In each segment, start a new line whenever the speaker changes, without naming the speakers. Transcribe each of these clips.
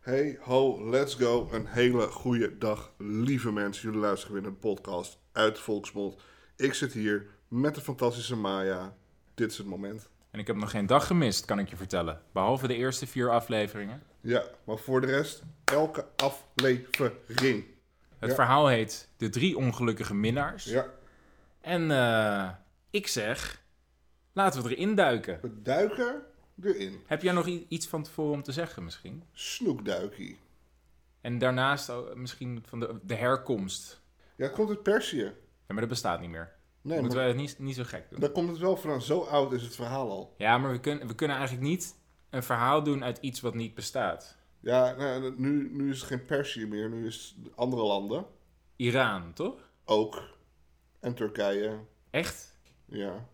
Hey ho, let's go. Een hele goede dag, lieve mensen. Jullie luisteren weer naar de podcast uit Volksmond. Ik zit hier met de fantastische Maya. Dit is het moment.
En ik heb nog geen dag gemist, kan ik je vertellen. Behalve de eerste vier afleveringen.
Ja, maar voor de rest, elke aflevering.
Het
Ja.
verhaal heet De Drie Ongelukkige Minnaars.
Ja,
En eh, ik zeg, laten we erin duiken.
we duiken erin.
Heb jij nog i- iets van tevoren om te zeggen misschien?
Snoekduikie.
En daarnaast ook misschien van de, de herkomst.
Ja, het komt uit Perzië.
Ja, maar dat bestaat niet meer.
Nee,
Moeten
maar
we het niet, niet zo gek doen.
daar komt het wel van. Zo oud is het verhaal al.
Ja, maar we, kunnen we kunnen eigenlijk niet een verhaal doen uit iets wat niet bestaat.
Ja, nou, nu, nu is het geen Perzië meer. Nu is het andere landen.
Iran, toch?
Ook. En Turkije.
Echt?
Ja.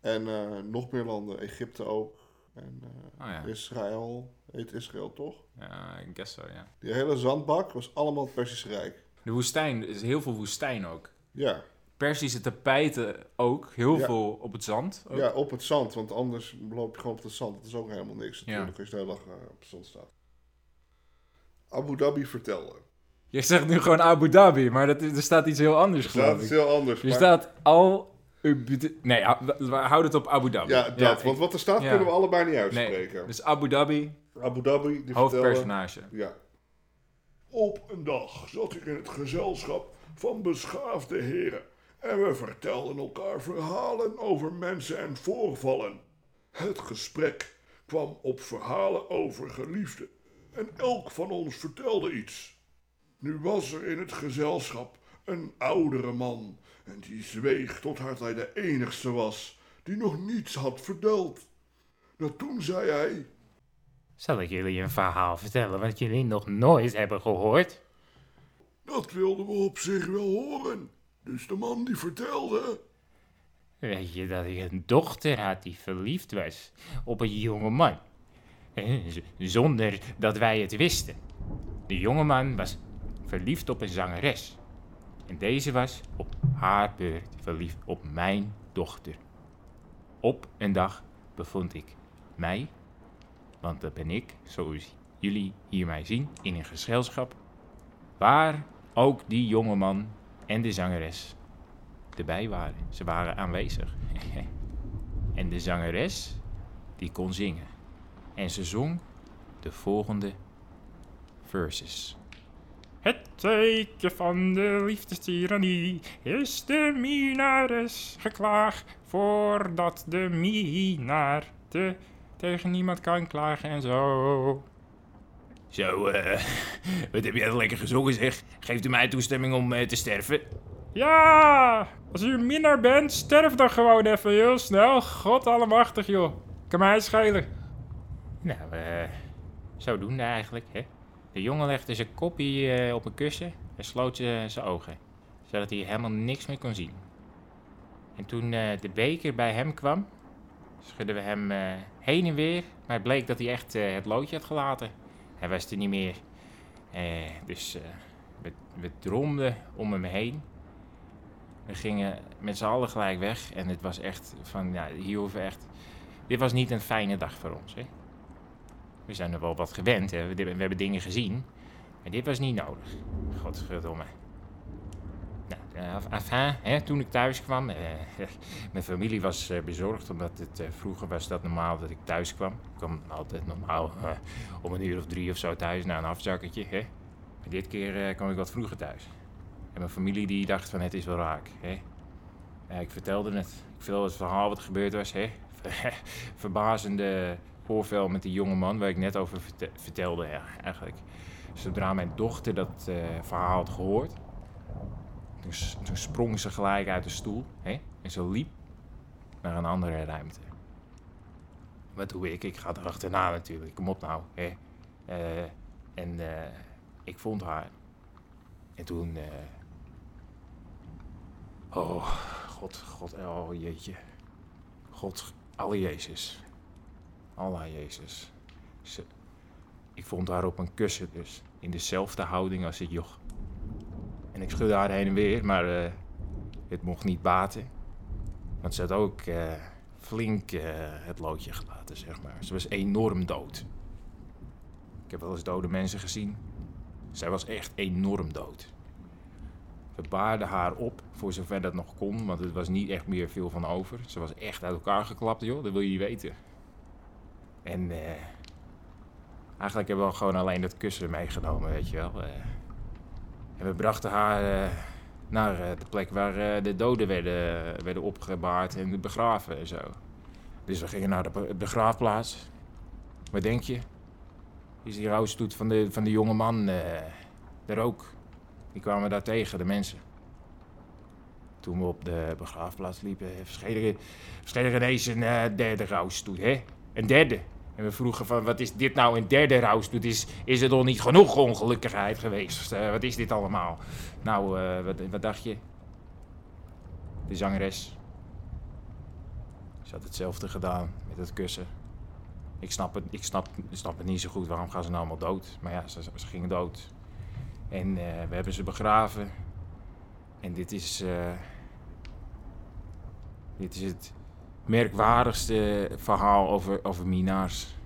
En eh, nog meer landen. Egypte ook. En
Oh
eh,
ja,
Israël. Heet Israël toch?
ja ik guess zo, ja.
Die hele zandbak was allemaal het Persisch Rijk.
De woestijn, er is heel veel woestijn ook.
Ja.
Persische tapijten ook. Heel
Ja.
veel op het zand. ook.
ja, op het zand. Want anders loop je gewoon op het zand. Dat is ook helemaal niks
Ja.
natuurlijk als je de hele dag eh, op het zand staat. Abu Dhabi vertelde.
Je zegt nu gewoon Abu Dhabi, maar dat, is- er staat iets heel anders,
Dat
geloof
is
ik.
heel anders.
Er
maar-
staat al... Abu Dha- Nee, hou- we- we houden het op Abu Dhabi.
Ja, dat.
ik-
want wat er staat
ja.
kunnen we allebei niet
Nee,
uitspreken.
dus Abu Dhabi,
Abu Dhabi, die vertelde...
hoofdpersonage.
Ja.
Op een dag zat ik in het gezelschap van beschaafde heren en we vertelden elkaar verhalen over mensen en voorvallen. Het gesprek kwam op verhalen over geliefden en elk van ons vertelde iets. Nu was er in het gezelschap een oudere man en die zweeg totdat hij de enigste was die nog niets had verteld. Dat toen zei hij...
Zal ik jullie een verhaal vertellen wat jullie nog nooit hebben gehoord?
Dat wilden we op zich wel horen. Dus de man die vertelde.
Weet je dat ik een dochter had die verliefd was op een jongeman? Eh, z- Zonder dat wij het wisten. De jongeman was verliefd op een zangeres. En deze was op haar beurt verliefd op mijn dochter. Op een dag bevond ik mij, want dat ben ik, zoals jullie hier mij zien, in een gezelschap. Waar ook die jongeman en de zangeres erbij waren. Ze waren aanwezig. en de zangeres, die kon zingen. En ze zong de volgende verses. Het teken van de liefdestyranie is de minares geklaagd voordat de minaar te, tegen niemand kan klagen en zo. Zo, eh, wat heb jij lekker gezongen zeg? Geeft u mij toestemming om eh, te sterven? Ja, als u minnaar bent, sterf dan gewoon even heel snel. God allemachtig, joh. Kan mij schelen. Nou, eh, zodoende eigenlijk, hè. De jongen legde zijn koppie eh, op een kussen en sloot eh, zijn ogen, zodat hij helemaal niks meer kon zien. En toen eh, de beker bij hem kwam, schudden we hem eh, heen en weer, maar het bleek dat hij echt eh, het loodje had gelaten. Hij was er niet meer. Eh, dus eh, we, we dromden om hem heen. We gingen met z'n allen gelijk weg. En het was echt van, ja, hier hoeven we echt... Dit was niet een fijne dag voor ons, hè. We zijn er wel wat gewend, hè. We, we hebben dingen gezien. Maar dit was niet nodig. Godverdomme. Nou, eh, enfin, hè, toen ik thuis kwam... eh, mijn familie was eh, bezorgd, omdat het eh, vroeger was dat normaal dat ik thuis kwam. Ik kwam altijd normaal eh, om een uur of drie of zo thuis, na een afzakketje, hè. Maar dit keer eh, kwam ik wat vroeger thuis. En mijn familie die dacht van het is wel raak. Hè? Ja, ik vertelde het. Ik vertelde het verhaal wat er gebeurd was. Hè? Verbazende voorval met die jongeman waar ik net over verte- vertelde ja, eigenlijk. Zodra mijn dochter dat eh, verhaal had gehoord, toen, s- toen sprong ze gelijk uit de stoel hè? en ze liep naar een andere ruimte. Wat doe ik? Ik ga er achterna natuurlijk. Kom op nou. Hè? Eh, en eh, ik vond haar. En toen. eh, Oh, god, god, oh jeetje. God, alle Jezus. Allah Jezus. Ze... Ik vond haar op een kussen dus. In dezelfde houding als het joch. En ik schudde haar heen en weer, maar eh, het mocht niet baten. Want ze had ook eh, flink eh, het loodje gelaten, zeg maar. Ze was enorm dood. Ik heb wel eens dode mensen gezien. Zij was echt enorm dood. We baarden haar op, voor zover dat nog kon, want het was niet echt meer veel van over. Ze was echt uit elkaar geklapt, joh, dat wil je niet weten. En eh, eigenlijk hebben we gewoon alleen dat kussen meegenomen, weet je wel. eh. En we brachten haar eh, naar eh, de plek waar eh, de doden werden, eh, werden opgebaard en begraven en zo. Dus we gingen naar de be- begraafplaats. Wat denk je? Is die rouwstoet van de, van de jonge man eh er ook? Die kwamen daar tegen, de mensen. Toen we op de begraafplaats liepen, verscheen er, verscheen er ineens een eh, derde rouwstoet, hè? Een derde. En we vroegen van, wat is dit nou, een derde rouwstoet? Is, is er nog niet genoeg ongelukkigheid geweest? Eh, wat is dit allemaal? Nou, eh, wat, wat dacht je? De zangeres. Ze had hetzelfde gedaan met het kussen. Ik snap het, ik snap, ik snap het niet zo goed, waarom gaan ze nou allemaal dood? Maar ja, ze, ze gingen dood. En eh, we hebben ze begraven. En dit is. eh, dit is het merkwaardigste verhaal over, over minaars.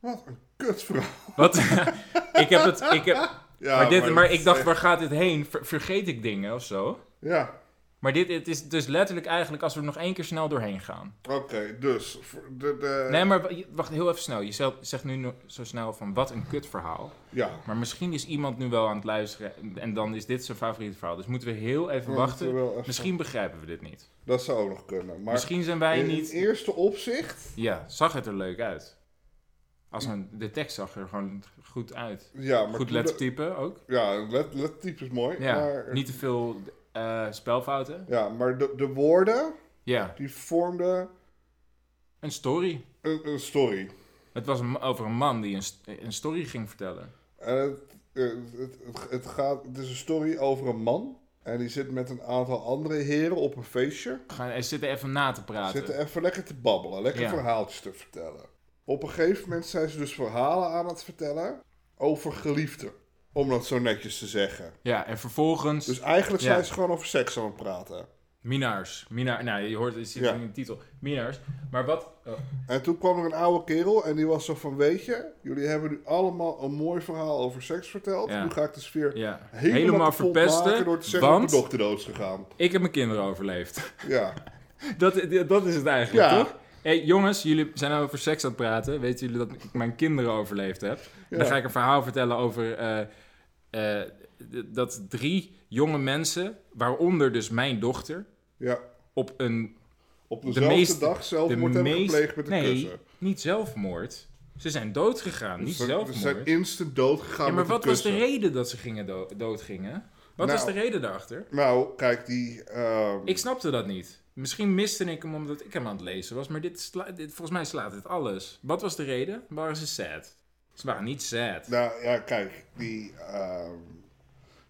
Wat een kutverhaal.
Wat? ik heb het. Ik heb,
Ja,
maar, dit, maar,
dat is
ik dacht,
echt-
waar gaat dit heen? Ver- vergeet ik dingen of zo?
Ja,
Maar dit het is dus letterlijk eigenlijk als we er nog één keer snel doorheen gaan.
oké, dus. voor De, de,
Nee, maar w- wacht heel even snel. Je zelt- zegt nu no- zo snel van wat een kutverhaal.
Ja.
Maar misschien is iemand nu wel aan het luisteren en- en dan is dit zijn favoriete verhaal. Dus moeten we heel even
Ja, moeten
wachten.
we wel even-
Misschien begrijpen we dit niet.
Dat zou ook nog kunnen. Maar
Misschien zijn wij
in
niet.
eerste opzicht,
Ja, zag het er leuk uit. Als een, de tekst zag er gewoon goed uit.
ja, maar
Goed
toen de-
lettertypen ook.
Ja, let, lettertype is mooi.
Ja,
maar,
niet te veel eh, spelfouten.
ja, maar de, de woorden,
Ja,
die vormden
een story.
een, een story.
Het was een- over een man die een, st- een story ging vertellen.
En het, eh, het, het, het gaat, het is een story over een man. En die zit met een aantal andere heren op een feestje.
We gaan er zitten even na te praten.
Zitten even lekker te babbelen, lekker
Ja.
verhaaltjes te vertellen. Op een gegeven moment zijn ze dus verhalen aan het vertellen over geliefden. Om dat zo netjes te zeggen.
Ja, en vervolgens
Dus eigenlijk
Ja.
zijn ze gewoon over seks aan het praten.
Minaars. Minaar, nou, je hoort het zit
Ja.
in de titel. Minaars. Maar wat... oh,
En toen kwam er een oude kerel en die was zo van... Weet je, jullie hebben nu allemaal een mooi verhaal over seks verteld.
Ja.
Nu ga ik de sfeer
ja.
helemaal,
Helemaal,
kapot maken door te
verpesten,
zeggen dat de
want
dochter dood is gegaan.
ik heb mijn kinderen overleefd.
Ja.
dat, dat is het eigenlijk,
Ja.
toch? hey, jongens, jullie zijn nou over seks aan het praten. Weten jullie dat ik mijn kinderen overleefd heb? En
Ja.
Dan ga ik een verhaal vertellen over eh, eh, d- dat drie jonge mensen, waaronder dus mijn dochter,
ja.
op een
Op dezelfde
meeste-
dag zelfmoord
de
hebben
meest...
gepleegd met een
nee,
kussen.
niet zelfmoord. Ze zijn doodgegaan, niet
Ze-
zelfmoord.
Ze zijn instant dood gegaan
Ja, maar
met een
wat was de
kussen.
reden dat ze gingen do- doodgingen? Wat was de
Nou.
reden daarachter?
Nou, kijk, die... ehm,
Ik snapte dat niet. Misschien miste ik hem omdat ik hem aan het lezen was, maar dit sla- dit, volgens mij slaat dit alles. Wat was de reden? Waren ze sad? Ze waren niet sad.
Nou ja, kijk, die, ehm,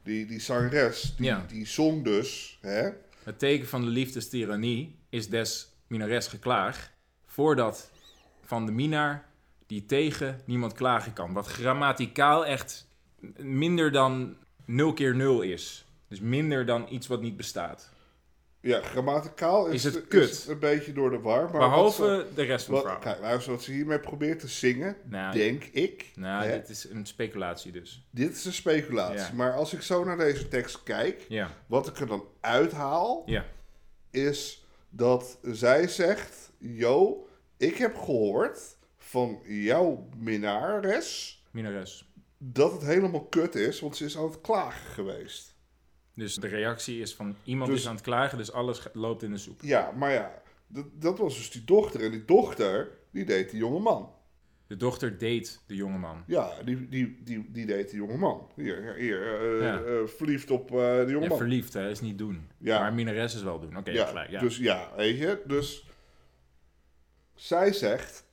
die, die zangeres, die,
Ja.
die zong dus, hè?
Het teken van de liefdestyranie is des minares geklaag, voordat van de minaar die tegen niemand klagen kan. Wat grammaticaal echt minder dan nul keer nul is. Dus minder dan iets wat niet bestaat.
Ja, grammaticaal is,
Is het
is
kut?
een beetje door de war. Maar wat
Behalve de rest
ze,
van het
wat,
verhaal.
kijk, luister, wat ze hiermee probeert te zingen,
Nou,
denk ik.
Nou,
hè,
dit is een speculatie dus.
dit is een speculatie.
Ja.
Maar als ik zo naar deze tekst kijk,
Ja,
wat ik er dan uithaal,
ja,
is dat zij zegt: Yo, ik heb gehoord van jouw minnares
minares.
dat het helemaal kut is, want ze is aan het klagen geweest.
Dus de reactie is van iemand
Dus-
is aan het klagen, dus alles ge- loopt in de soep.
Ja, maar ja, dat, dat was dus die dochter. En die dochter, die deed die jongeman.
De dochter date de jongeman.
Ja, die, die, die, die deed die jongeman. Hier, hier eh,
Ja.
eh, verliefd op eh de
Ja,
jongeman. Ja,
verliefd hè, is niet doen.
Ja.
Maar minares is wel doen. Oké, gelijk. Ja.
Dus ja, weet je. Dus zij zegt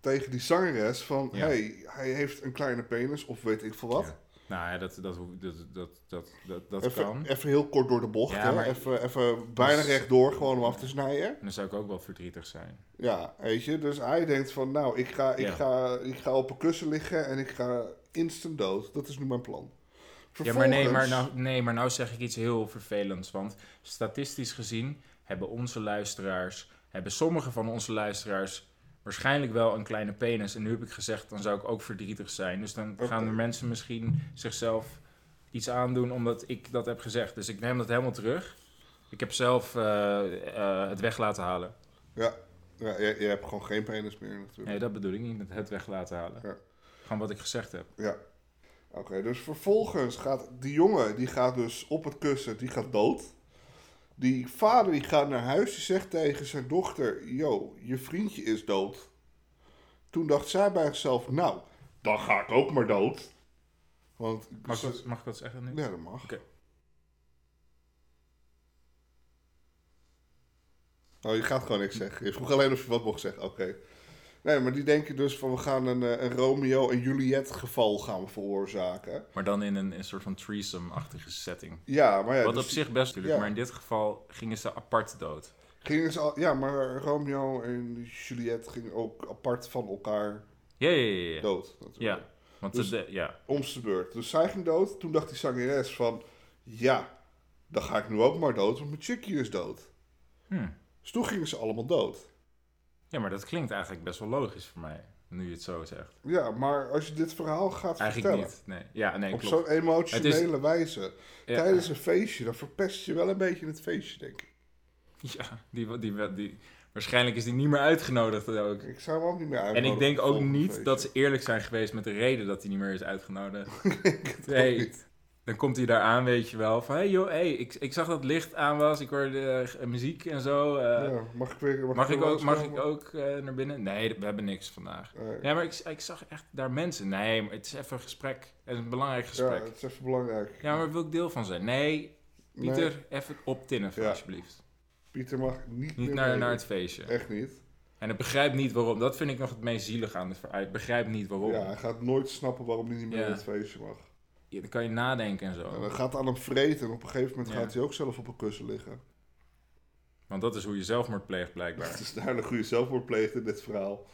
tegen die zangeres van...
Ja.
hey, hij heeft een kleine penis of weet ik veel wat.
Ja. Nou ja, dat, dat, dat, dat, dat, dat, dat kan.
Even, even heel kort door de bocht.
Ja,
hè?
maar-
Even, even bijna rechtdoor, gewoon om af te snijden.
En dan zou ik ook wel verdrietig zijn.
Ja, weet je. Dus hij denkt van, nou, ik ga, ik,
Ja.
ga, ik ga op een kussen liggen en ik ga instant dood. Dat is nu mijn plan.
Ja, maar nee,
Vervolgens-
maar, nou, nee, maar nou zeg ik iets heel vervelends. Want statistisch gezien hebben onze luisteraars, hebben sommige van onze luisteraars waarschijnlijk wel een kleine penis. En nu heb ik gezegd, dan zou ik ook verdrietig zijn. Dus dan gaan de mensen misschien zichzelf iets aandoen omdat ik dat heb gezegd. Dus ik neem dat helemaal terug. Ik heb zelf eh, eh, het weg laten halen. nou-
Ja, ja jij, jij hebt gewoon geen penis meer natuurlijk.
Nee, dat bedoel ik niet, met het weg laten halen.
Ja.
Gewoon wat ik gezegd heb.
Ja. Oké, dus vervolgens gaat die jongen, die gaat dus op het kussen, die gaat dood. Die vader die gaat naar huis, die zegt tegen zijn dochter, yo, je vriendje is dood. Toen dacht zij bij zichzelf, nou, dan ga ik ook maar dood. Want,
Mag ik dat, mag ik dat zeggen nu?
ja, dat mag.
Oké.
Oh, je gaat gewoon niks zeggen. Je vroeg alleen of je wat mocht zeggen. Oké. Nee, maar die denken dus van we gaan een, eh, een Romeo en Juliet geval gaan veroorzaken.
Maar dan in een, een soort van threesome-achtige setting.
Ja, maar ja,
Wat
dus
op zich best natuurlijk,
Ja.
maar in dit geval gingen ze apart dood.
gingen ze al, ja, maar Romeo en Juliet gingen ook apart van elkaar
Ja, ja, ja. ja.
dood. Natuurlijk.
Ja, want
Dus-
de, ja.
Om zijn beurt. Dus zij ging dood. Toen dacht die zangeres van, ja, dan ga ik nu ook maar dood, want mijn chickie is dood.
Hm.
Dus toen gingen ze allemaal dood.
ja, maar dat klinkt eigenlijk best wel logisch voor mij, nu je het zo zegt.
Ja, maar als je dit verhaal gaat
Eigenlijk
vertellen
niet. Nee. Ja, nee,
op
klopt.
zo'n emotionele wijze,
Ja.
tijdens een feestje, dan verpest je wel een beetje het feestje, denk ik.
Ja, die, die, die, waarschijnlijk is die niet meer uitgenodigd ook.
Ik zou hem ook niet meer
En
uitnodigen
ik denk
voor
ook
het volgende
niet
feestje.
dat ze eerlijk zijn geweest met de reden dat hij niet meer is uitgenodigd.
Ik denk het ook
Nee.
niet.
Dan komt hij daar aan, weet je wel, van hey joh, hey, ik, ik zag dat het licht aan was, ik hoorde eh, muziek en zo. eh,
Ja, mag ik weer...
Mag ik
weer
ook, mag ik
langskomen?
ook eh, naar binnen? Nee, we hebben niks vandaag.
Nee.
Ja, maar ik, ik zag echt daar mensen. Nee, maar het is even een gesprek. Het is een belangrijk
Ja,
gesprek.
het is even belangrijk.
Ja, maar wil ik deel van zijn? Nee,
Nee,
Pieter, even optinnen
Ja.
alsjeblieft.
Pieter mag niet,
Niet
meer
naar,
meedoen.
naar het feestje.
Echt niet.
En ik begrijp niet waarom. Dat vind ik nog het meest zielig aan het verhaal. Ik begrijp niet waarom.
Ja, hij gaat nooit snappen waarom hij niet meer
Ja.
naar het feestje mag.
Ja, dan kan je nadenken en
En
zo.
dan gaat het aan hem vreten en op een gegeven moment
Ja.
gaat hij ook zelf op een kussen liggen.
Want dat is hoe je zelfmoord pleegt, blijkbaar.
Het is duidelijk hoe je zelfmoord pleegt in dit verhaal.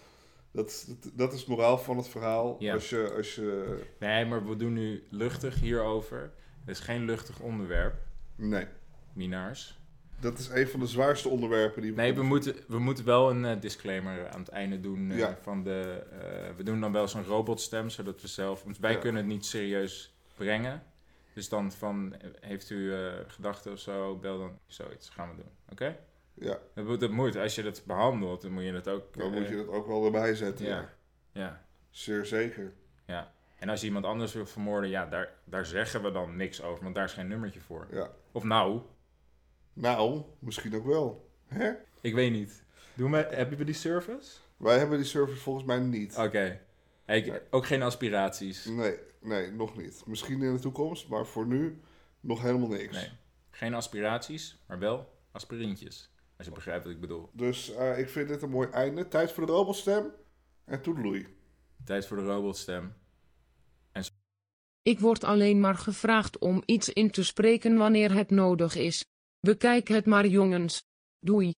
Dat is, dat, dat is het moraal van het verhaal.
Ja.
Als je, als je...
Nee, maar we doen nu luchtig hierover. Het is geen luchtig onderwerp,
Nee.
Minaars.
Dat is een van de zwaarste onderwerpen die we...
Nee, we moeten, we moeten wel een eh, disclaimer aan het einde doen. eh,
Ja.
van de, eh, we doen dan wel zo'n robotstem, zodat we zelf... Want wij
Ja.
kunnen het niet serieus brengen. Dus dan van, eh, heeft u eh, gedachten of zo, bel dan zoiets. Gaan we doen, oké?
Ja,
Dat, moet- dat moet, als je dat behandelt, dan moet je dat ook...
dan
eh,
moet je dat ook wel erbij zetten.
ja.
ja.
ja,
Zeer zeker.
ja. En als je iemand anders wil vermoorden, ja, daar, daar zeggen we dan niks over. Want daar is geen nummertje voor.
Ja.
Of nou,
Nou, misschien ook wel. Hè?
ik weet niet. Doen we, hebben we die service?
Wij hebben die service volgens mij niet.
Oké. Ik, ook geen aspiraties.
Nee, nee, nog niet. Misschien in de toekomst, maar voor nu nog helemaal niks.
Nee. Geen aspiraties, maar wel aspirintjes. Als je begrijpt wat ik bedoel.
Dus eh, ik vind dit een mooi einde. Tijd voor de robotstem. En toedeloei.
Tijd voor de robotstem.
Ik word alleen maar gevraagd om iets in te spreken wanneer het nodig is. Bekijk het maar jongens. Doei.